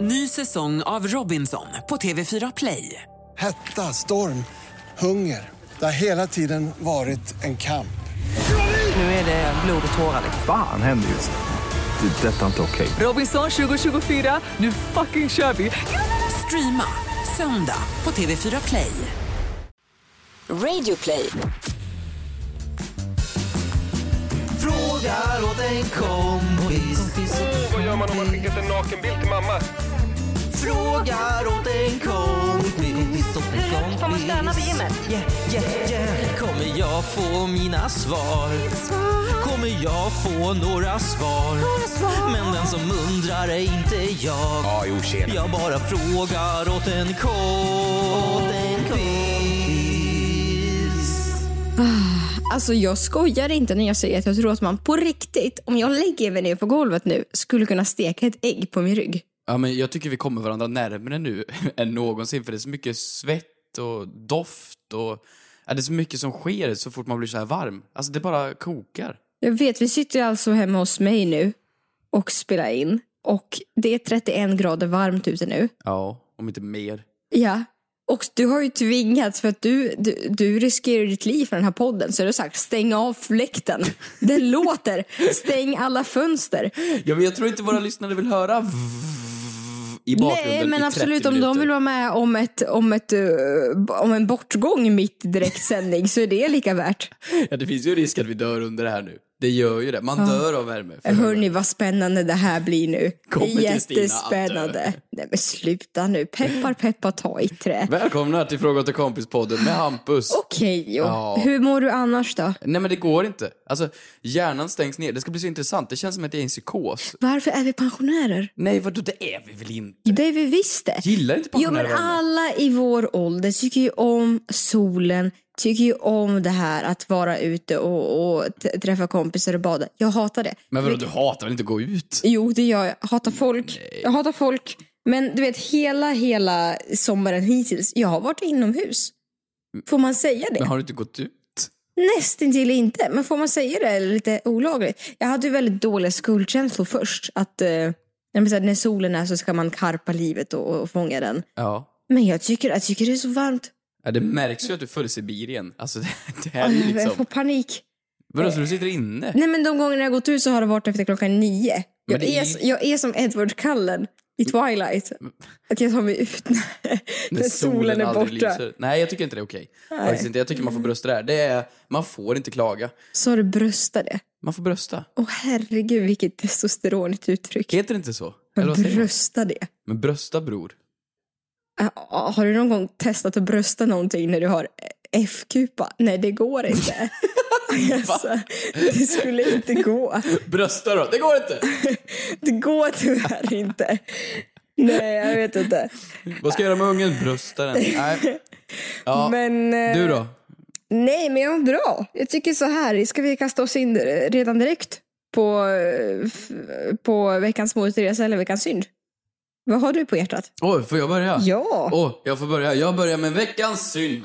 Ny säsong av Robinson på TV4 Play. Hetta, storm, hunger. Det har hela tiden varit en kamp. Nu är det blod och tårar. Fan händer just nu. Det. är Detta är inte okej. Robinson 2024, nu fucking kör vi! Streama söndag på TV4 Play. Radio play. Frågar åt en kompis. Vad gör man om man skickat en nakenbild till mamma? Frågar åt en kompis. åt en Hur högt får man kompis. stöna på gymmet? Yeah, yeah, yeah. Kommer jag få mina svar? Kommer jag få några svar? Men den som undrar är inte jag. Ja, jo, tjena. Jag bara frågar åt en kompis. Alltså jag skojar inte när jag säger att jag tror att man på riktigt, om jag lägger mig ner på golvet nu, skulle kunna steka ett ägg på min rygg. Ja, men jag tycker vi kommer varandra närmare nu än någonsin för det är så mycket svett och doft och ja, det är så mycket som sker så fort man blir så här varm. Alltså det bara kokar. Jag vet, vi sitter alltså hemma hos mig nu och spelar in. Och det är 31 grader varmt ute nu. Ja, om inte mer. Ja. Och du har ju tvingats för att du, du, du riskerar ditt liv för den här podden. Så du har sagt stäng av fläkten. Den låter. Stäng alla fönster. Ja, men jag tror inte våra lyssnare vill höra i bakgrunden Nej men i 30 absolut om de minuter. vill vara med om, ett, om, ett, eh, om en bortgång mitt i direktsändning så är det lika värt. Ja, det finns ju risk att vi dör under det här nu. Det gör ju det. Man dör av värme. För Hörni vad spännande det här blir nu. Kommer till Stina att dö. Jättespännande. Nej men sluta nu. Peppar peppar ta i trä. Välkomna till Fråga till kompis-podden med Hampus. Okej jo. Ja. Hur mår du annars då? Nej men det går inte. Alltså, hjärnan stängs ner. Det ska bli så intressant. Det känns som att jag är i en psykos. Varför är vi pensionärer? Nej vadå, det är vi väl inte? Det är vi visst det. Gillar inte Jo pensionärer men värme? alla i vår ålder tycker ju om solen, tycker ju om det här att vara ute och, och t- träffa kompisar och bada. Jag hatar det. Men vadå, du hatar väl inte att gå ut? Jo, det gör jag. Jag hatar folk. Jag hatar folk. Men du vet, hela, hela sommaren hittills, jag har varit inomhus. Mm. Får man säga det? Men har du inte gått ut? Nästintill inte, men får man säga det eller lite olagligt? Jag hade ju väldigt dåliga skuldkänslor först. Att eh, jag menar så här, när solen är så ska man karpa livet och, och fånga den. Ja. Men jag tycker, jag tycker det är så varmt. ja. Det märks ju att du är född i Sibirien. Alltså det, det här är Åh, ju Jag får liksom... panik. Vadå, så du sitter inne? Nej men de gånger jag har gått ut så har det varit efter klockan nio. Jag, Men det är... är- Mm. s- jag är som Edward Cullen i Twilight. Att jag tar mig ut när, när solen är aldrig borta. lyser. Nej, jag tycker inte det är okej. Faktiskt inte. Jag tycker man får brösta det här. Det är... Man får inte klaga. Så har du bröstar det. Man får brösta. Åh herregud vilket testosteronigt uttryck. Heter det inte så? Eller vad säger man? Brösta det. Men brösta bror. Ah, ah, Har du någon gång testat att brösta någonting när du har F-kupa? Nej det går inte. alltså, det skulle inte gå. Brösta då? Det går inte! Det går tyvärr inte. Nej jag vet inte. Vad ska jag göra med ungen? Brösta den? Nej. Ja. Men, eh, Du då? Nej, men jag mår bra. Jag tycker så här, ska vi kasta oss in redan direkt på, eh, f- på veckans motresa eller veckans synd? Vad har du på hjärtat? Oj, får jag börja? Ja. Åh, jag får börja. Jag börjar med veckans synd.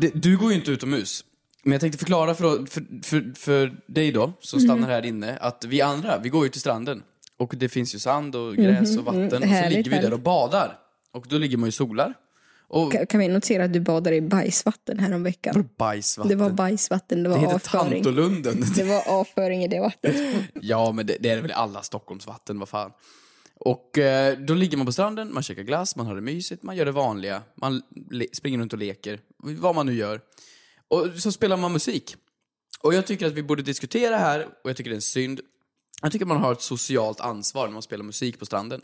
Det, du går ju inte utomhus. Men jag tänkte förklara för, för, för, för dig då, som Mhm. stannar här inne, att vi andra, vi går ju till stranden. Och det finns ju sand och gräs och vatten. och så Mhm. Härligt, ligger vi där härligt. och badar. Och då ligger man ju solar. Och Ka- Kan vi notera att du badade i bajsvatten häromveckan? bajsvatten. Det var bajsvatten, det Det var heter avföring. Tantolunden. Det var avföring i det vattnet. Ja, men det, det är väl i alla Stockholmsvatten, vad fan. Och eh, då ligger man på stranden, man käkar glass, man har det mysigt, man gör det vanliga. Man le- springer runt och leker, vad man nu gör. Och så spelar man musik. Och jag tycker att vi borde diskutera här, och jag tycker det är en synd. Jag tycker man har ett socialt ansvar när man spelar musik på stranden.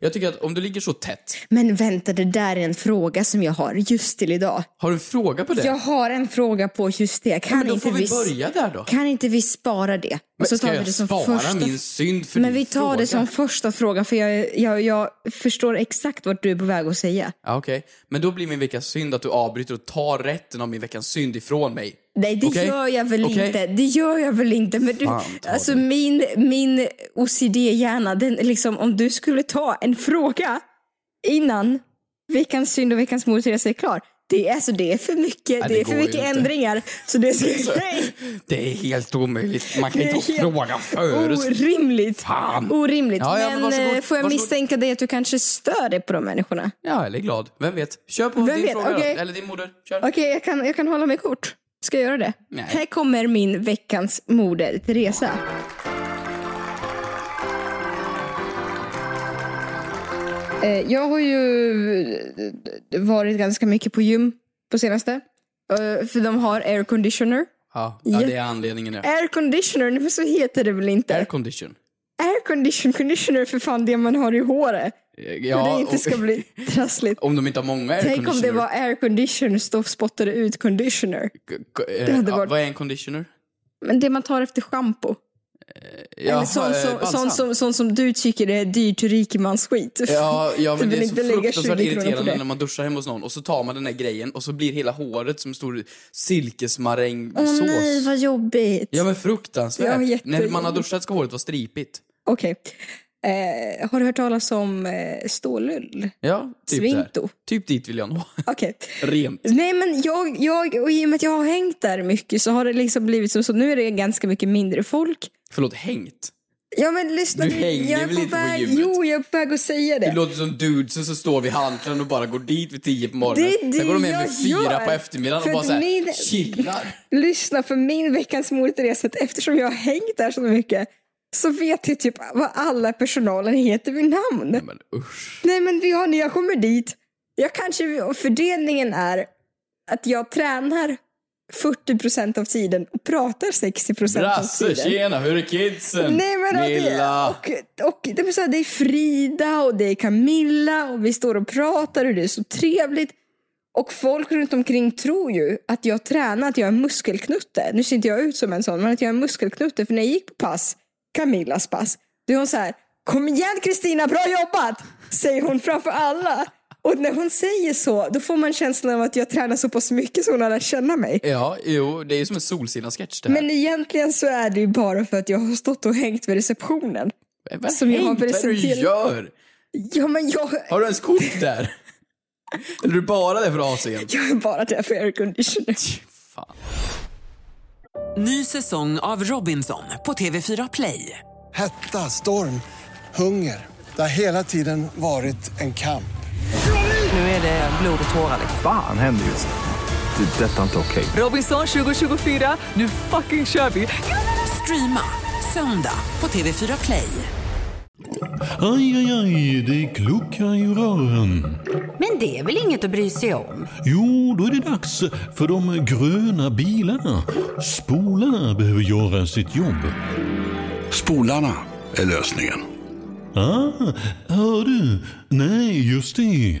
Jag tycker att om du ligger så tätt, Men vänta, det där är en fråga som jag har just till idag. har du en fråga på det? Jag har en fråga på just det. Kan, men då inte, får vi s- börja där då. kan inte vi spara det? Men Och så ska tar vi jag det som spara första min synd för Men din vi tar det som fråga? första fråga för jag, jag, jag förstår exakt vad du är på väg att säga. Ja, okej. Men då blir min veckans synd att du avbryter och tar rätten av min veckans synd ifrån mig. Nej det Okej? gör jag väl Okej? inte. Det gör jag väl inte. Men du, Fan, ta alltså det. min, min OCD-hjärna, den liksom om du skulle ta en fråga innan veckans synd och veckans motvilja är klar. Det är, alltså, det är för mycket, Nej, det det är för går ju mycket inte. ändringar. Så det ska, nej, Det är helt omöjligt. Man kan Det är inte helt fråga förut. orimligt. Fan. Orimligt. Ja, ja, men men varsågod, eh, får jag varsågod. misstänka dig att du kanske stör dig på de människorna? Ja, eller glad. Vem vet? Kör på Vem din vet? fråga Okej. då. Eller din moder. Kör. Okej, jag, kan, jag kan hålla mig kort. Ska jag göra det? Nej. Här kommer min veckans moder, Teresa. Eh, Jag har ju eh, varit ganska mycket på gym på senaste. Eh, För de har air conditioner. Ja, ja, det är anledningen. ja. Air conditioner, men så heter det väl inte? Air condition. Air condition, conditioner är för fan det man har i håret. Eh, Ja, För det inte och- ska bli trassligt. Om de inte har många air Tänk om det var air conditioner, då spottade ut conditioner. Det hade eh, ja, varit- vad är en conditioner? Men det man tar efter schampo. Eller Jaha, sånt eh, som, balsam. sånt som, sånt som du tycker är dyrt rikemansskit. Ja, ja Du men det vill är så inte lägga 20 fruktansvärt kronor på irriterande det. när man duschar hemma hos någon och så tar man den här grejen och så blir hela håret som en stor silkesmarängsås. Åh nej, vad jobbigt. Ja men fruktansvärt. Ja, jätte- när man har duschat ska håret vara stripigt. Okej. Eh, har du hört talas om eh, stålull? Ja, typ Svinto. där. Typ dit vill jag nå. Okej. Rent. Nej men jag, jag, och i och med att jag har hängt där mycket så har det liksom blivit som så. Nu är det ganska mycket mindre folk. Förlåt, hängt. Ja men lyssna Du nu, hänger jag är väl på inte på väg, gymmet? Jo, jag är på väg att säga Det det. låter som dudesen som står vid hantlarna och bara går dit vid tio på morgonen. Det är det Sen går de hem vid jag fyra gör. på eftermiddagen För och bara att såhär, min- chillar. Lyssna, för min veckans mordteres att eftersom jag har hängt där så mycket så vet jag typ vad alla personalen heter vid namn. Nej men usch. Nej men vi har, när jag kommer dit, jag kanske, och fördelningen är att jag tränar 40% av tiden och pratar 60% av Brasse, tiden. tjena, hur är kidsen? Nej men att Milla. Det, och, och det, är så här, det är Frida och det är Camilla och vi står och pratar och det är så trevligt. Och folk runt omkring tror ju att jag tränar, att jag är en muskelknutte. Nu ser inte jag ut som en sån, men att jag är en muskelknutte. För när jag gick på pass, Camillas pass, då är hon så här, kom igen Kristina, bra jobbat! Säger hon framför alla. Och när hon säger så, då får man känslan av att jag tränar så pass mycket så hon har lärt känna mig. Ja, jo, det är ju som en Solsidan-sketch det här. Men egentligen så är det ju bara för att jag har stått och hängt vid receptionen. Eh, Vad som jag har hängt? Vad är det du presenterat- gör? Ja, men jag, Har du ens kort där? Eller är du bara där för AC'n? jag är bara där för airconditioner. Fan. Ny säsong av Robinson på TV4 Play. Hetta, storm, hunger. Det har hela tiden varit en kamp. Nu är det blod och tårar. Fan händer just det. Det är detta inte okej. Robinson 2024, nu fucking kör vi! Streama söndag på TV4 Play. Aj, aj, aj, det kluckar i rören. Men det är väl inget att bry sig om? Jo, då är det dags för de gröna bilarna. Spolarna behöver göra sitt jobb. Spolarna är lösningen. Ah, hör du? Nej, just det.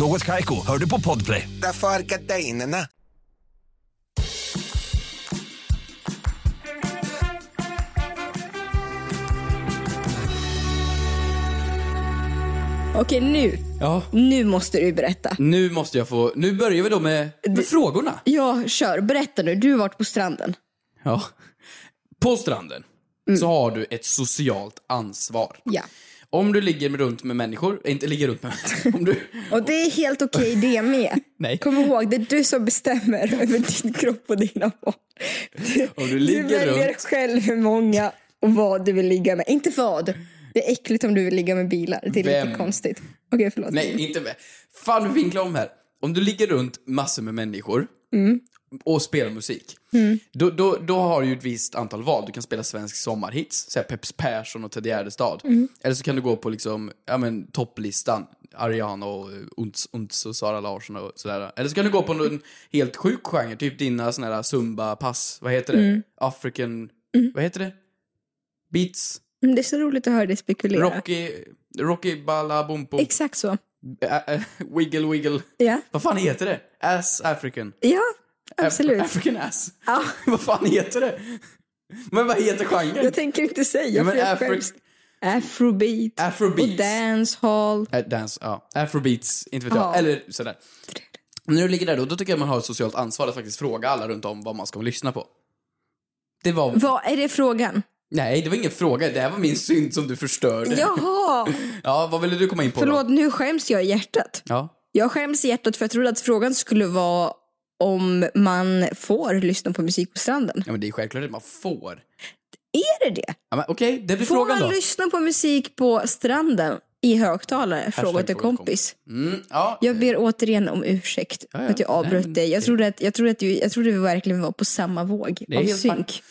Något Kaiko, hör du på Podplay. Därför är gardinerna. Okej, nu. Ja. Nu måste du berätta. Nu måste jag få... Nu börjar vi då med, med frågorna. Ja, kör. Berätta nu. Du har varit på stranden. Ja. På stranden Mm. så har du ett socialt ansvar. Ja. Om du ligger med- runt med människor, äh, inte ligger runt med om du, Och det är helt okej det med. Nej. Kom ihåg, det är du som bestämmer över din kropp och dina val. om du Du ligger väljer runt... själv hur många och vad du vill ligga med. Inte vad. Det är äckligt om du vill ligga med bilar. Det är Vem? lite konstigt. Okej, förlåt. Nej, inte med. Fan, vi vinklar om här. Om du ligger runt massor med människor och spelar musik, då, då, då har du ju ett visst antal val. Du kan spela svensk sommarhits, säga Peps Persson och Ted Gärdestad. Eller så kan du gå på liksom, ja, men, topplistan, Ariana och eh, Unts, Unts och Sara Larsson och sådär. Eller så kan du gå på någon helt sjuk genre, typ dina såna här zumba-pass, vad heter det? African, vad heter det? Beats? Mm, Det är så roligt att höra dig spekulera. Rocky, Rocky Balla Bumpo? Exakt så. Ä- ä- wiggle wiggle. Ja. Vad fan heter det? Ass African. Ja, Absolut. Af- African ass. vad fan heter det? Men vad heter genren? Jag tänker inte säga Ja, men för jag Afri- skäms. Afrobeat. Afrobeats. Och dancehall. Eh, Dance, ja. Afrobeats, inte vet jag. Ja. Eller sådär. När du ligger där då, då tycker jag man har ett socialt ansvar att faktiskt fråga alla runt om vad man ska lyssna på. Det var... Vad är det frågan? Nej, det var ingen fråga. Det här var min synd som du förstörde. Jaha! Ja, vad ville du komma in på Förlåt, då? nu skäms jag i hjärtat. Ja. Jag skäms i hjärtat för jag trodde att frågan skulle vara om man får lyssna på musik på stranden. ja, men det är självklart att man får. Är det det? Ja, men Okej, det blir Får frågan då. man lyssna på musik på stranden i högtalare? Fråga Hashtag till fråga till kompis. Mm, ja. Jag ber återigen om ursäkt Ja, ja. för att jag Nej, avbröt men dig. Jag det- trodde, att, jag, trodde att du, jag trodde vi verkligen var på samma våg Det är av helt synk.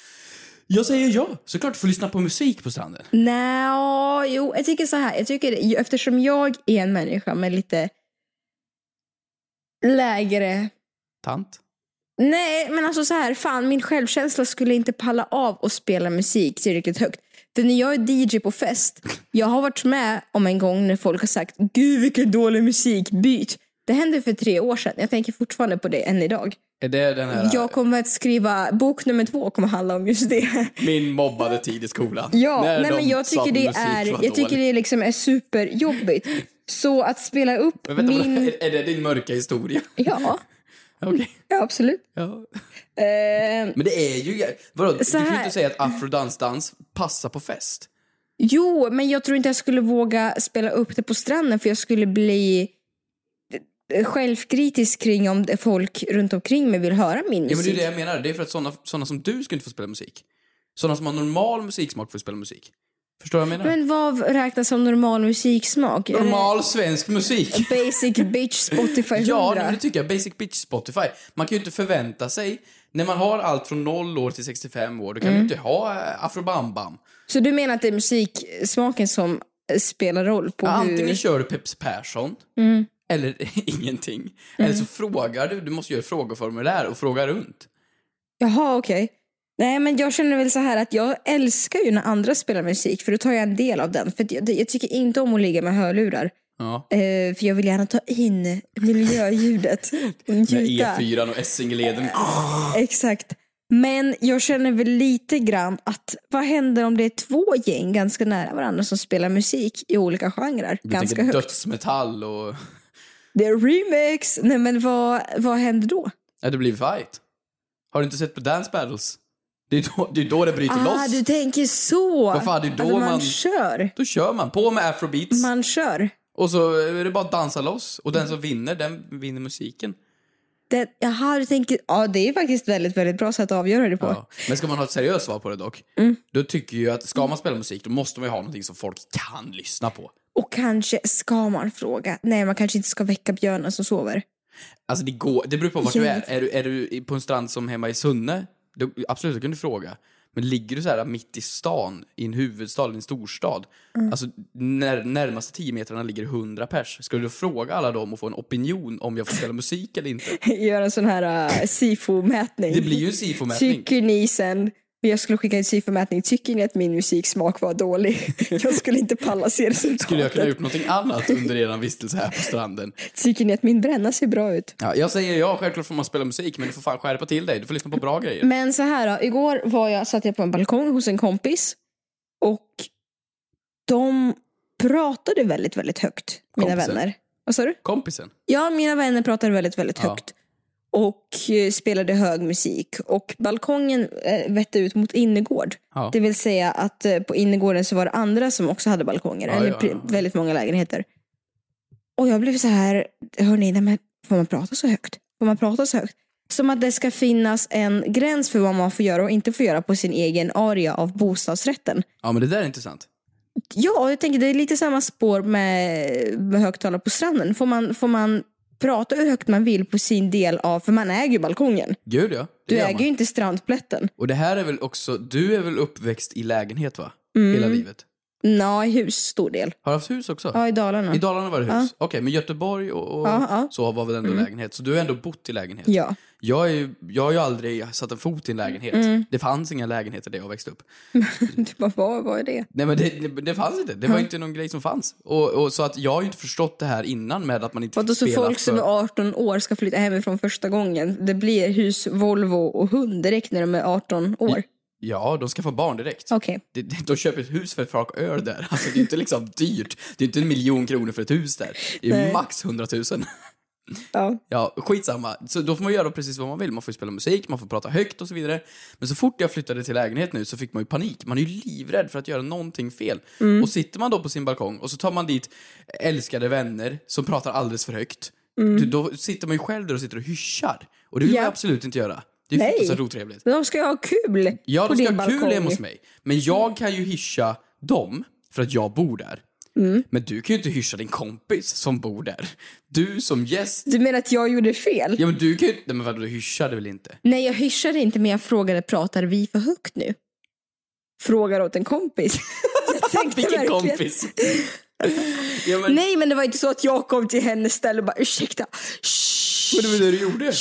Jag säger ja. Såklart du får lyssna på musik på stranden. Nej, jo, jag tycker så här. Jag tycker, ju- eftersom jag är en människa med lite lägre... Tant. Nej, men alltså så här, fan min självkänsla skulle inte palla av att spela musik tillräckligt högt. För när jag är DJ på fest, jag har varit med om en gång när folk har sagt Gud vilken dålig musik, byt. Det hände för tre år sedan, jag tänker fortfarande på det än idag. Är det den här Jag kommer att skriva, bok nummer två kommer handla om just det. min mobbade tid i skolan? Ja, När nej, de men jag sa tycker det musik är, var jag tycker dålig. det liksom är superjobbigt. Så att spela upp Men vänta, min... är, är det din mörka historia? Ja. Okej. ja, absolut. Ja. Eh, Men det är ju... Vadå, du Så kan ju här- inte säga att afrodansdans passar på fest. jo, men jag tror inte jag skulle våga spela upp det på stranden för jag skulle bli självkritisk kring om det- folk runt omkring mig vill höra min Ja, men det är musik. det jag menar. Det är för att såna, såna som du ska inte få spela musik. Såna som har normal musiksmak får spela musik. Förstår du vad jag menar? Men vad räknas som normal musiksmak? Är det Normal svensk musik. Basic bitch Spotify 100? Ja, nej, men det tycker jag. Basic bitch Spotify. Man kan ju inte förvänta sig, när man har allt från 0 år till 65 år, då kan Mm. man ju inte ha eh, afrobambam. Så du menar att det är musiksmaken som eh, spelar roll på Antingen hur... kör du Peps Persson, Mm. eller ingenting. Eller så frågar du, du måste göra ett frågeformulär och fråga runt. Jaha, okej. Nej, men jag känner väl så här att jag älskar ju när andra spelar musik för då tar jag en del av den. För att jag, jag tycker inte om att ligga med hörlurar. Ja. Eh, för jag vill gärna ta in miljöljudet. och Med E njuta. E4 och Essingeleden. Äh, Exakt. Men jag känner väl lite grann att vad händer om det är två gäng ganska nära varandra som spelar musik i olika genrer? Du ganska tänker högt. dödsmetall och... Det är remix. Nej, men vad, vad händer då? Ja, det blir fight. Har du inte sett på Dance Battles? Det är då det, är då det bryter Ah, loss. du tänker så. Vad fan, det är då Alltså, man- kör. Då kör man. På med afrobeats. Man kör. Och så är det bara att dansa loss. Och den som vinner, den vinner musiken. Det, jaha, du tänker, ja det är faktiskt väldigt, väldigt bra sätt att avgöra det på. Ja. Men ska man ha ett seriöst svar på det dock, Mm. då tycker jag att ska man spela musik, då måste man ju ha någonting som folk kan lyssna på. Och kanske ska man fråga, nej man kanske inte ska väcka björnen som sover. Alltså det går, det beror på vart du är. Jävligt. Är du, är du i- på en strand som hemma i Sunne, då, absolut, då kan du fråga. Men ligger du så här mitt i stan, i en huvudstad, i en storstad, Mm. alltså när, närmaste 10 metrarna ligger 100 pers, ska du då fråga alla dem och få en opinion om jag får spela musik eller inte? Göra en sån här uh, SIFO-mätning. Det blir ju en SIFO-mätning. Tycker ni sen, och jag skulle skicka en SIFO-mätning, tycker ni att min musiksmak var dålig? jag skulle inte palla se resultatet. Skulle jag kunna gjort någonting annat under eran vistelse här på stranden? Tycker ni att min bränna ser bra ut? Ja, jag säger ja, självklart får man spela musik, men du får fan skärpa till dig. Du får lyssna på bra grejer. Men så här då, igår var jag, satt jag på en balkong hos en kompis och de pratade väldigt, väldigt högt, mina Kompisen. vänner. Vad sa du? Kompisen. Ja, mina vänner pratade väldigt, väldigt Ja. högt. Och eh, spelade hög musik. Och balkongen eh, vette ut mot innergård. Ja. Det vill säga att eh, på innergården så var det andra som också hade balkonger. Ja, eller ja, pri- ja. väldigt många lägenheter. Och jag blev så här, hörni, nej, men får man prata så högt? Får man prata så högt? Som att det ska finnas en gräns för vad man får göra och inte får göra på sin egen area av bostadsrätten. Ja, men det där är intressant. Ja, jag tänker det är lite samma spår med, med högtalare på stranden. Får man, får man prata hur högt man vill på sin del av, för man äger ju balkongen. Gud ja. Det Du gör äger man. ju inte strandplätten. Och det här är väl också, du är väl uppväxt i lägenhet va? Mm. Hela livet. Nej, hus, stor del. Har du haft hus också? Ja, i Dalarna. I Dalarna var det hus? Ja. Okej, men Göteborg och, och Ja, ja. så var väl ändå Mm. lägenhet? Så du har ändå bott i lägenhet? Ja. Jag, är, ju- jag har ju aldrig satt en fot i en lägenhet. Mm. Det fanns inga lägenheter där jag växte upp. Du bara, vad, vad är det? Nej men det, det, det fanns inte. Det var inte någon grej som fanns. Och, och, så att jag har ju inte förstått det här innan med att man inte Vadå, så folk som är 18 år ska flytta hemifrån första gången? Det blir hus, Volvo och hund direkt när de är 18 år? Ja, de ska få barn direkt. Okej. Det- det- De köper ett hus för frak öar där. Alltså, det är inte liksom dyrt. Det är inte en miljon kronor för ett hus där. Det är Nej. max 100 000. Ja. Ja, skitsamma. Så då får man göra precis vad man vill. Man får ju spela musik, man får prata högt och så vidare. Men så fort jag flyttade till lägenhet nu så fick man ju panik. Man är ju livrädd för att göra någonting fel. Mm. Och sitter man då på sin balkong och så tar man dit älskade vänner som pratar alldeles för högt. Mm. Du, då sitter man ju själv där och sitter och hyschar. Och det vill man Ja. ju absolut inte göra. Det är ju så otrevligt. Men de ska ju ha kul Ja, på de ska din ha kul balkong. hemma hos mig. Men jag kan ju hyscha dem för att jag bor där. Mm. Men du kan ju inte hyscha din kompis som bor där. Du som gäst. Du menar att jag gjorde fel? Ja men du kan ju inte... Nej, Men vadå, du hyschade väl inte? Nej, jag hyschade inte men jag frågade, pratar vi för högt nu? Frågar åt en kompis. Jag tänkte Vilken verkligen- kompis? ja, men, Nej, men det var inte så att jag kom till hennes ställe och bara ursäkta, men det var det du gjorde.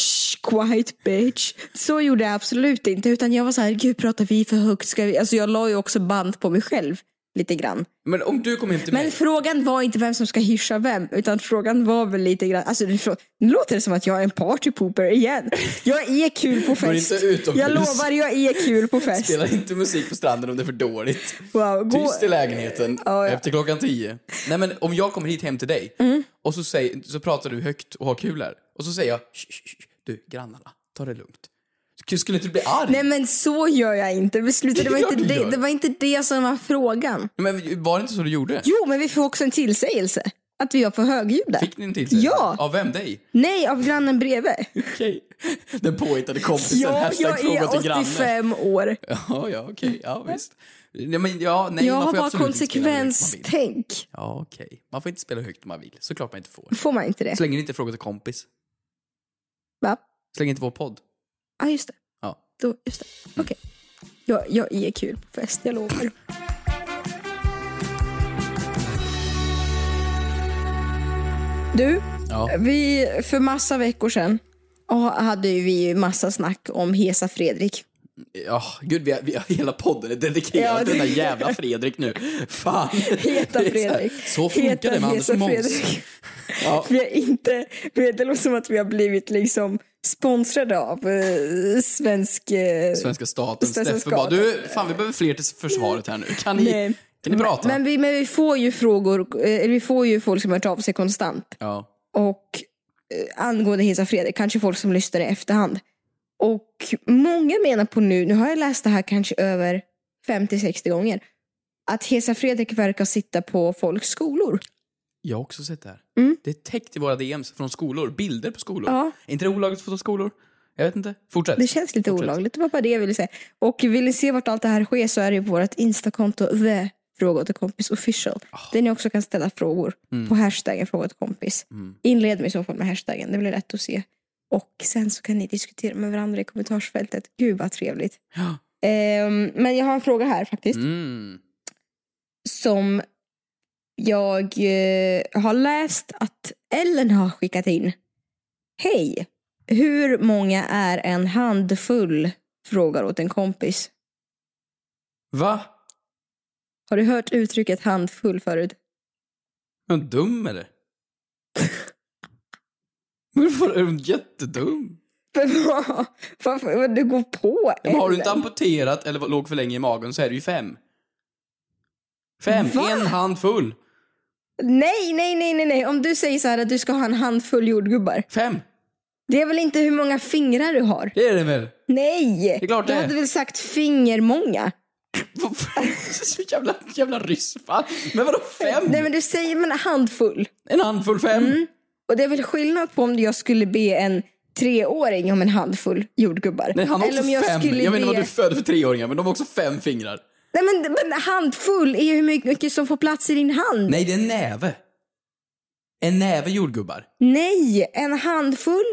quiet bitch. Så gjorde jag absolut inte. Utan jag var så här, gud pratar vi för högt? Ska vi? Alltså jag la ju också band på mig själv lite grann. Men om du kom hem till Men mig. frågan var inte vem som ska hyscha vem, utan frågan var väl lite grann, alltså det frå- nu låter det som att jag är en partypooper igen. Jag är kul på Går fest. inte utomhus. Jag lovar, jag är kul på fest. Spela inte musik på stranden om det är för dåligt. Wow, gå- Tyst i lägenheten efter klockan tio. Nej men om jag kommer hit hem till dig och så, säger, så pratar du högt och har kul här. Och så säger jag, "Shh, shh, shh, du grannarna, ta det lugnt. Sk- Skulle inte du bli arg? Nej men så gör jag inte. Men sluta, det, var Det är klart inte du det, gör. det var inte det som var frågan. Men var det inte så du gjorde? Jo, men vi får också en tillsägelse. Att vi var för högljudda. Fick ni en tillsägelse? Ja. Av vem? Dig? Nej, av grannen bredvid. Okej. Den påhittade kompisen, Ja, hashtag jag fråga till är grannen. 85 år. Ja, ja, okej. Ja, visst. Nej, men ja, nej, jag man har får ju bara absolut inte spela hur högt man vill. konsekvenstänk. Ja, okej. Man får inte spela hur högt man vill. Såklart man inte får. Får man inte det? Så länge det inte är fråga till kompis. Va? Så länge inte vår podd. Ja, ah, just det. Ja. Då, just det. Mm. Okej. Jag, jag är kul på fest, jag lovar. Du, Ja. vi, för massa veckor sedan ah, hade ju vi ju massa snack om Hesa Fredrik. Ja, gud, vi har, vi har, hela podden är dedikerad Ja, till det- den där jävla Fredrik nu. Fan. Heta Det är så här, Fredrik. Så funkar Heta det med Anders Hesa och Måns. Fredrik. Ja. Vi har inte, vi det låter som att vi har blivit liksom sponsrade av eh, svensk... Eh, Svenska staten, Svenska Steffe bara, staten. du, fan vi behöver fler till försvaret här nu. Kan ni, Nej. kan ni prata? Men vi, men vi får ju frågor, eh, vi får ju folk som har hört av sig konstant. Ja. Och eh, angående Hesa Fredrik, kanske folk som lyssnar i efterhand. Och många menar på nu, nu har jag läst det här kanske över 50-60 gånger, att Hesa Fredrik verkar sitta på folks skolor. Jag har också sett det här. Det är täckt i våra DMs från skolor. Bilder på skolor. Mm. Ja. Är inte det olagligt att fota skolor? Jag vet inte. Fortsätt. Det känns lite Fortsätt. olagligt, det var bara det jag ville säga. Och vill ni se vart allt det här sker så är det ju på vårt instakonto the fråga åt en kompis official. Där ni också kan ställa frågor Mm. på hashtaggen fråga åt en kompis. Mm. Inled med i så fall med hashtaggen, det blir lätt att se. Och sen så kan ni diskutera med varandra i kommentarsfältet. Gud vad trevligt. Ehm, men jag har en fråga här faktiskt. Mm. Som jag eh, har läst att Ellen har skickat in. Hej! Hur många är en handfull? Frågar åt en kompis. Va? Har du hört uttrycket handfull förut? Är hon dum eller? Varför är hon jättedum? Men vad- Varför? vad Du går på Men har du inte Ellen. amputerat eller låg för länge i magen så är det ju fem. Fem. Va? En hand full. Nej, nej, nej, nej, nej. Om du säger så här att du ska ha en handfull jordgubbar. Fem. Det är väl inte hur många fingrar du har? Det är det väl? Nej! Det är klart du det är. hade väl sagt fingermånga? Så jävla, jävla ryssfall. Men vadå fem? Nej men Mm. du säger men en handfull. En handfull fem. Och det är väl skillnad på om jag skulle be en treåring om en handfull jordgubbar. Nej, han har Eller också om jag fem. skulle Jag menar vad be... du föder för treåringar, men de har också fem fingrar. Nej men, men handfull är ju hur mycket- mycket som får plats i din hand. Nej, det är en näve. En näve jordgubbar. Nej, en handfull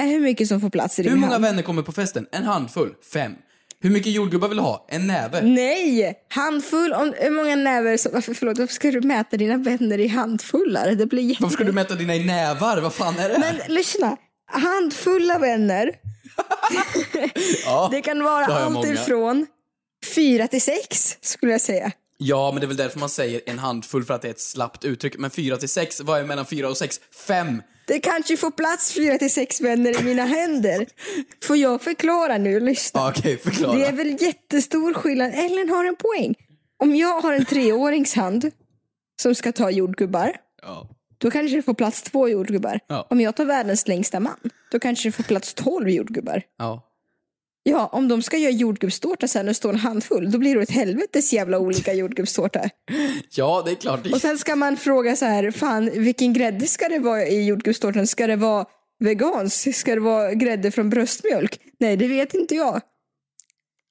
är hur mycket som får plats i din Hur många hand. vänner kommer på festen? En handfull. Fem. Hur mycket jordgubbar vill du ha? En näve? Mm. Nej! Handfull. Om, hur många näver... Så, varför, förlåt, varför ska du mäta dina vänner i handfullar? Det blir jätte... Varför ska du mäta dina i nävar? Vad fan är det? Men lyssna. Handfulla vänner. ja, Det kan vara det har jag allt många. ifrån fyra till sex skulle jag säga. Ja, men det är väl därför man säger en handfull för att det är ett slappt uttryck. Men fyra till sex, vad är mellan fyra och sex? Fem! Det kanske får plats fyra till sex vänner i mina händer. Får jag förklara nu? Lyssna. Ja, Okej, förklara. Det är väl jättestor skillnad. Ellen har en poäng. Om jag har en treårings hand som ska ta jordgubbar, Ja. då kanske det får plats två jordgubbar. Ja. Om jag tar världens längsta man, då kanske det får plats tolv jordgubbar. Ja. Ja, om de ska göra jordgubbstårta sen och stå en handfull, då blir det ett helvetes jävla olika jordgubbstårta. ja, det är klart. Och sen ska man fråga så här, fan vilken grädde ska det vara i jordgubbstårtan? Ska det vara vegansk? Ska det vara grädde från bröstmjölk? Nej, det vet inte jag.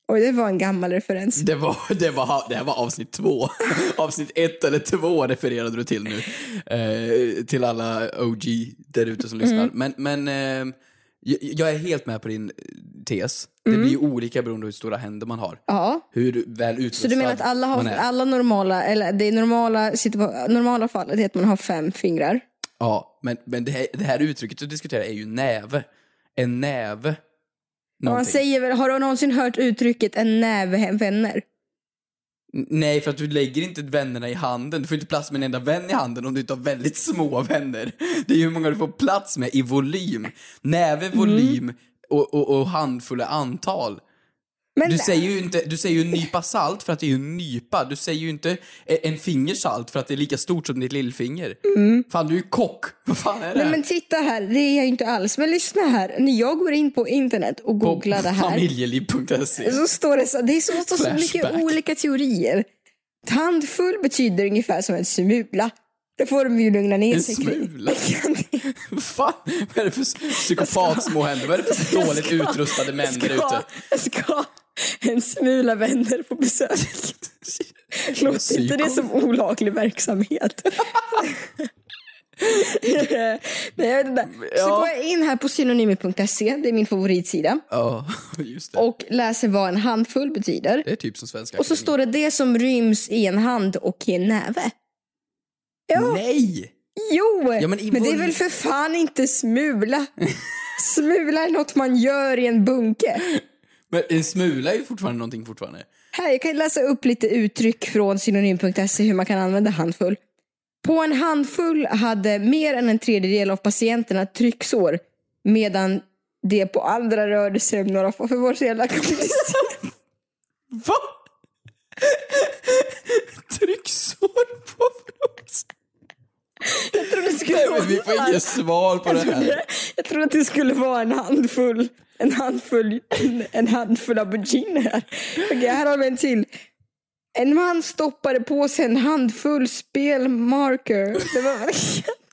Oj, det var en gammal referens. Det, var, det, var, det här var avsnitt två. avsnitt ett eller två refererade du till nu. Eh, till alla OG där ute som lyssnar. Mm. Men, men eh, jag, jag är helt med på din eh, tes. Mm. Det blir ju olika beroende på hur stora händer man har. Ja. Hur väl utrustad Så du menar att alla, man har, är. alla normala, eller det är normala, situa- normala fallet är att man har fem fingrar? Ja, men, men det, här, det här uttrycket du diskuterar är ju näve. En näve. Och man Någonting. säger väl, har du någonsin hört uttrycket en näve hem vänner? N- Nej, för att du lägger inte vännerna i handen. Du får inte plats med en enda vän i handen om du inte har väldigt små vänner. Det är ju hur många du får plats med i volym. Näve, Mm. volym och, och, och handfulla antal. du, säger ju inte, du säger ju en nypa salt för att det är ju en nypa. Du säger ju inte e- en finger salt för att det är lika stort som ditt lillfinger. Fan, du är ju kock. Vad fan är det? Mm. Nej här? men titta här, det är jag inte alls. Men lyssna här, när jag går in på internet och googlar det här. Familjeliv.se. Så står det så, det är så, så, så mycket Flashback. olika teorier. Tandfull betyder ungefär som en smula. Det får de ju lugna ner En sig kring. smula. Fan, vad är det för psykopatsmå händer? Vad är det för Jag dåligt ska- utrustade män där ska- ute? Ska en smula vänner på besök? Låter inte det som olaglig verksamhet? Nej, jag vet inte. Så Ja. går jag in här på synonymer.se, det är min favoritsida, Ja, just det. och läser vad en handfull betyder. Det är typ som svenska Och så Akademien. står det det som ryms i en hand och i en näve. Ja. Nej! Jo! Ja, men men, i det är vol- väl för fan inte smula? smula är något man gör i en bunke. Men en smula är ju fortfarande någonting fortfarande. Här, jag kan läsa upp lite uttryck från synonym.se E hur man kan använda handfull. På en handfull hade mer än en tredjedel av patienterna trycksår medan det på andra rörde sig om några få... För vår så jävla komplicering. Va? Trycksår på oss. Jag trodde det skulle Nej, men vi får inget svar på det jag här. trodde, jag trodde att det skulle vara en handfull, en handfull, en, en handfull auberginer. Okej, här har vi en till. En man stoppade på sig en handfull spelmarker. Det var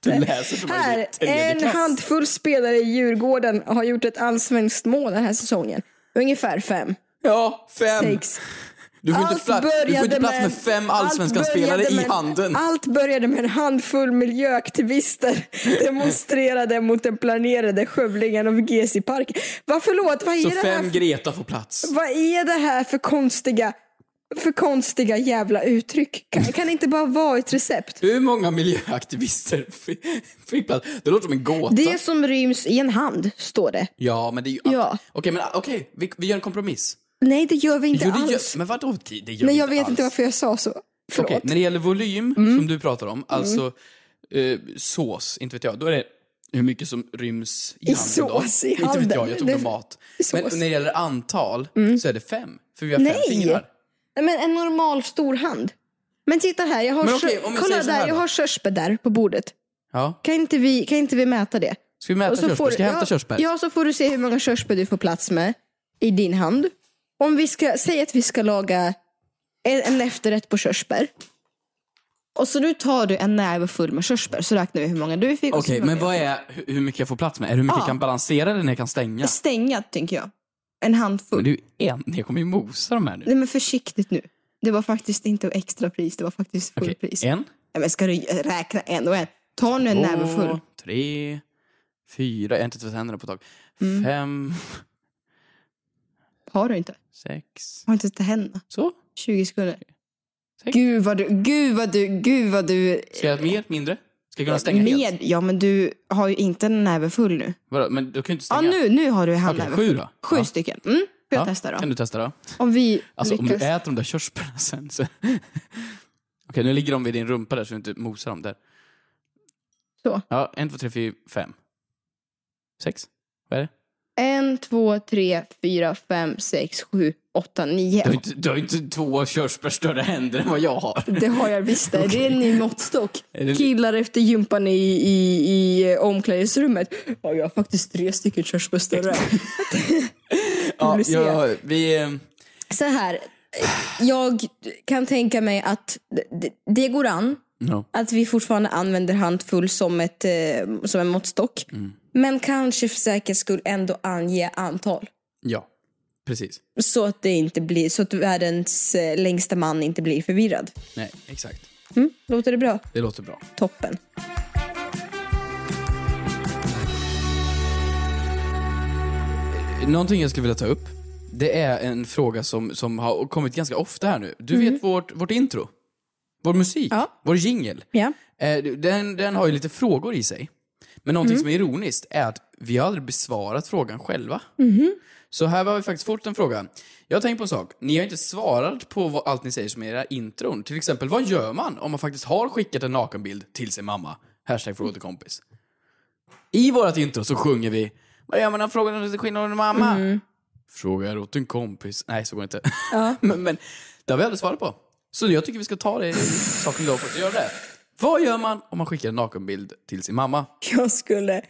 Du läser som man gör i här, tredje en klass. handfull spelare i Djurgården har gjort ett allsvenskt mål den här säsongen. Ungefär fem. Ja, fem. Sex. Du får, Allt inte, pla- du får började inte plats med med- fem allsvenska allt började spelare i med- handen. Allt började med en handfull miljöaktivister demonstrerade mot den planerade skövlingen av Gesi park. Vad förlåt, vad är, Så det här, fem Greta får plats. vad är det här för konstiga, för konstiga jävla uttryck? Kan, kan det inte bara vara ett recept? Hur många miljöaktivister fick, fick plats? Det låter som en gåta. Det som ryms i en hand, står det. Ja, men det är ju... Ja. Okej, men okej, vi, vi gör en kompromiss. Nej, det gör vi inte Jo, det alls. gör, men vadå? Det det gör Men vi jag vet alls. inte varför jag sa så. Förlåt. Okej, när det gäller volym, som du pratar om, alltså eh, sås, inte vet jag, då är det hur mycket som ryms i, I handen då. sås i Inte handen. vet jag, jag tog Det- det... mat. sås. Men när det gäller antal så är det fem, för vi har fem Nej! fingrar. Nej, men en normal stor hand. Men titta här, jag har, Men okej, kö- om vi kolla säger så där, här jag då. har körsbär där på bordet. Ja. Kan inte vi, kan inte vi mäta det? Ska vi mäta Och så får körsbär? du- Ska jag hämta ja, körsbär? Ja, så får du se hur många körsbär du får plats med i din hand. Om vi ska, säg att vi ska laga en, en efterrätt på körsbär. Och så nu tar du en näve full med körsbär så räknar vi hur många du fick. och så Okej, hur många men vad är hur- hur mycket jag får plats med? Är det hur mycket Ja. jag kan balansera eller när jag kan stänga? Stänga, tänker jag. En handfull. Men du, en, jag kommer ju mosa de här nu. Nej, men försiktigt nu. Det var faktiskt inte extra pris, det var faktiskt fullpris. En, Nej, men ska du räkna en och en? Ta nu en näve full. två, tre, fyra, jag har inte tvättat händerna på ett tag. Fem, Har du inte? sex. Har inte henne. Så? 20 sekunder. Gud vad du, gud vad du, gud vad du... Ska jag göra mer, mindre? Ska jag kunna stänga Eh, med, helt? Ja, men du har ju inte en näve full nu. Vadå, men du kan ju inte Ja, stänga. nu, nu har du en halv Okej, näve sju full. då? Sju Ja. stycken. Mm, får jag testa då? Kan du testa då? Om vi Alltså lyckas... om du äter de där körsbärna sen så... Okej, nu ligger de vid din rumpa där så du inte mosar dem där. Så. Ja, en, två, tre, fyra, fem. Sex? Vad är det? En, två, tre, fyra, fem, sex, sju, åtta, nio. Du har inte, du har inte två körsbär större händer än vad jag har. Det har jag visst det. Det är en ny måttstock. Är det- Killar efter gympan i, i, i eh, omklädningsrummet. Ja, jag har faktiskt tre stycken körsbär större. Ja, vill se. jag, vi... eh, Så här. Jag kan tänka mig att det, det går an. Ja. Att vi fortfarande använder handfull som, ett, eh, som en måttstock. Mm. Men kanske för säkerhets skull ändå ange antal. Ja, precis. Så att, det inte blir, så att världens eh, längsta man inte blir förvirrad. Nej, exakt. Mm, låter det bra? Det låter bra. Toppen. Någonting jag skulle vilja ta upp, det är en fråga som, som har kommit ganska ofta här nu. Du vet vårt, vårt intro? Vår musik? Vår jingel? Mm. Ja. Eh, Den, den har ju lite frågor i sig. Men någonting som är ironiskt är att vi har aldrig besvarat frågan själva. Så här har vi faktiskt fått en fråga. Jag har tänkt på en sak. Ni har inte svarat på vad allt ni säger som är era intron. Till exempel, vad gör man om man faktiskt har skickat en nakenbild till sin mamma? Hashtag fråga till kompis. I vårt intro så sjunger vi Vad gör man om frågan inte skinner under mamma? Frågar åt en kompis. Nej, så går det inte. men, men det har vi aldrig svarat på. Så jag tycker vi ska ta det saken då för att göra det. Vad gör man om man skickar en nakenbild till sin mamma? Jag skulle,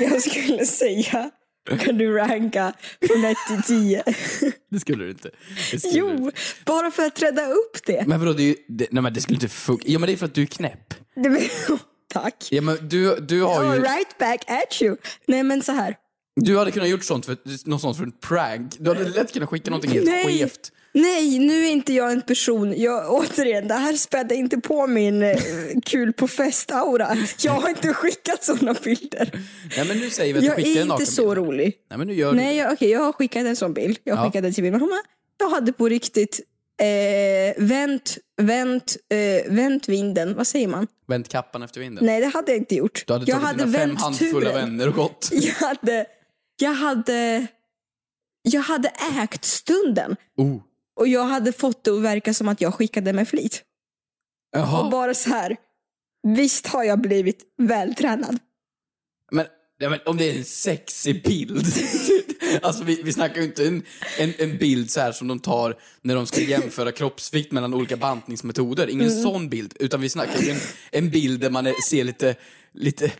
jag skulle säga, kan du ranka från 1 till 10? Det skulle du inte. Det skulle du Jo, bara för att rädda upp det. Men vadå, det, är ju- det, nej, men det skulle inte funka. Ja men det är för att du är knäpp. Det blir- Tack. Ja men du, du har All ju... right back at you. Nej men så här. Du hade kunnat gjort sånt för, något sånt för en prank. Du hade lätt kunnat skicka någonting helt Nej. skevt. Nej, nu är inte jag en person. Jag, återigen, det här spädde inte på min eh, kul på fest-aura. Jag har inte skickat sådana bilder. Nej men nu säger vi att Jag du skickar är en inte nakenbild. så rolig. Nej men nu gör Nej, du jag, okej, jag har skickat en sån bild. Jag Ja. skickade till min mamma. Jag hade på riktigt eh, vänt, vänt, eh, vänt vinden. Vad säger man? Vänt kappan efter vinden. Nej, det hade jag inte gjort. Du hade jag tagit dina fem vänt handfulla turen. vänner och gått. Jag hade, jag hade, jag hade ägt stunden. Oh. Och jag hade fått det att verka som att jag skickade med flit. Och Jaha. bara så här. Visst har jag blivit vältränad. Men, ja, men om det är en sexig bild. alltså vi, vi snackar ju inte en, en, en bild så här som de tar när de ska jämföra kroppsvikt mellan olika bantningsmetoder. Ingen Mm. sån bild. Utan vi snackar ju en, en bild där man är, ser lite, lite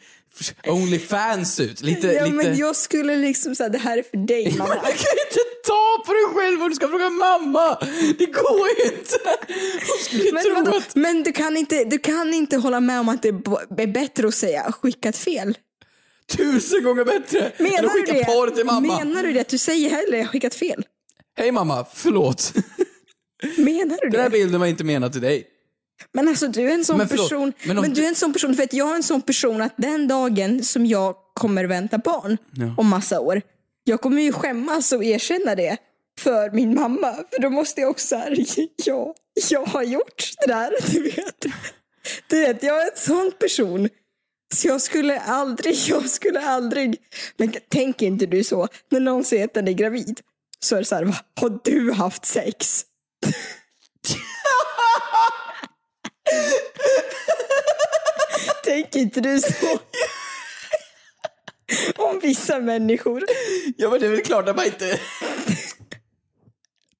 Onlyfans ut. Lite, ja, lite... men jag skulle liksom säga det här är för dig Men mamma. du kan ju inte ta på dig själv om du ska fråga mamma! Det går ju inte! Hon skulle ju tro Men, vadå? att... men du, kan inte, du kan inte hålla med om att det b- är bättre att säga skickat fel. Tusen gånger bättre än att Menar du skicka det? porr till mamma. Menar du det? Att Du säger hellre jag skickat fel. Hej mamma, förlåt. Menar du Den här det? bilden var inte menad till dig. Men alltså du är en sån Men förlåt, person. men Men, om du du- är en sån person. För att jag är en sån person att den dagen som jag kommer vänta barn Ja. om massa år. Jag kommer ju skämmas och erkänna det för min mamma. För då måste jag också säga ja, jag har gjort det där. Du vet. Du vet, jag är en sån person. Så jag skulle aldrig, jag skulle aldrig. Men tänk inte du så. När någon säger att den är gravid. Så är det så här, "Va, har du haft sex? Tänk inte du så. Om vissa människor. Ja men det är väl klart att man inte...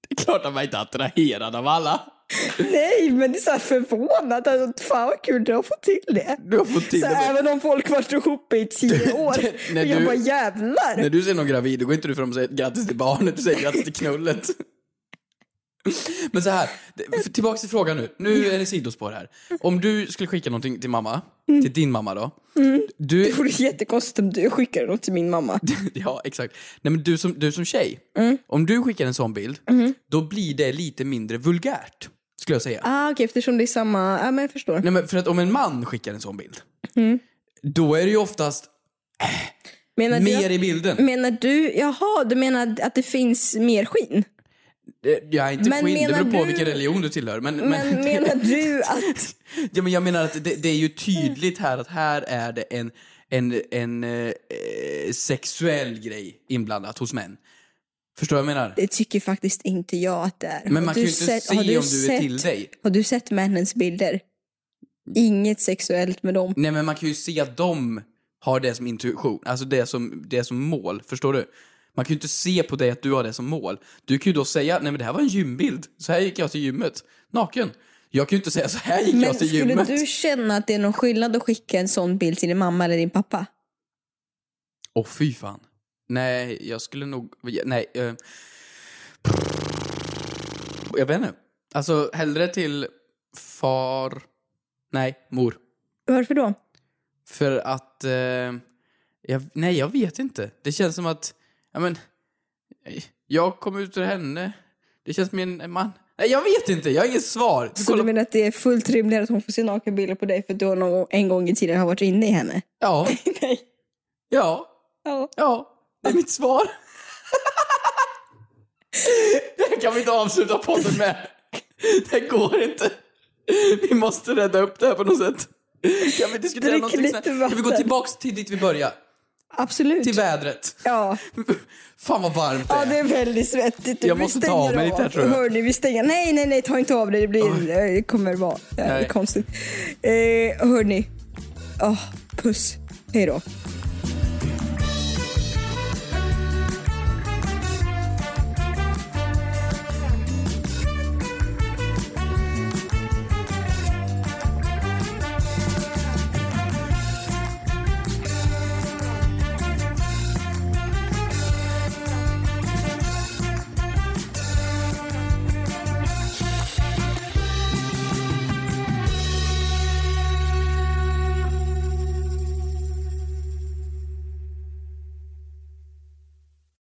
Det är klart att man inte är attraherad av alla. Nej, men det är så här förvånat. Alltså, fan vad kul du har fått till det. Du har fått till så det, men- Även om folk varit ihop i tio år. när och jag du- bara jävlar. När du ser någon gravid, då går inte du fram och säger grattis till barnet, du säger grattis till knullet. Men så här, det- för- tillbaks till frågan nu. Nu är det sidospår här. Om du skulle skicka någonting till mamma, till din mamma då. Mm. Du- Det vore jättekonstigt om du skickade något till min mamma. Ja, exakt. Nej men du som, du som tjej, Mm. om du skickar en sån bild, då blir det lite mindre vulgärt. Skulle jag säga. Ah, Okej, eftersom det är samma. Ja, men jag förstår. Nej men för att om en man skickar en sån bild, Mm. då är det ju oftast Menar mer du, i bilden. Menar du, jaha, du menar att det finns mer skinn? Eh, Ja, Men inte men skinn, det menar beror på du- vilken religion du tillhör. Men, Men, menar du att... ja, men jag menar att det, det är ju tydligt här att här är det en, en, en eh, eh, sexuell grej inblandat hos män. Förstår vad jag menar? Det tycker faktiskt inte jag att det är. Men man Har kan du ju inte se har om du är till dig. Har du sett männens bilder? Inget sexuellt med dem. Nej, men man kan ju se att de har det som intuition, alltså det som, det som mål. Förstår du? Man kan ju inte se på dig att du har det som mål. Du kan ju då säga, nej men det här var en gymbild. Så här gick jag till gymmet, naken. Jag kan ju inte säga, så här gick Men jag till skulle alltså, gymmet. du känna att det är någon skillnad att skicka en sån bild till din mamma eller din pappa? Åh fy fan. Nej, jag skulle nog... Nej. eh, jag vet inte. Alltså hellre till far... Nej, mor. Varför då? För att... eh, jag, nej, jag vet inte. Det känns som att... Ja, men, jag kom ut ur henne. Det känns som en en man. Nej, jag vet inte. Jag har inget svar. Så du menar att det är fullt rimligt att hon får se nakenbilder på dig för att du har någon, en gång i tiden har varit inne i henne? Ja. Nej. Ja. Ja. Ja. Det är mitt svar. det här kan vi inte avsluta podden med. Det går inte. Vi måste rädda upp det här på något sätt. Kan vi diskutera Drick någonting lite sen? Kan vi gå vatten. tillbaks till dit vi började? Absolut. Till vädret. Ja. Fan vad varmt det Ja, är. det är väldigt svettigt. Jag Vi måste ta stänger av mig lite här, tror jag. Hörni, vi stänger. Nej, nej, nej, ta inte av dig. Det, blir, det kommer vara jävligt Nej. konstigt. Eh, hörni, oh, Ah, puss. Hej då.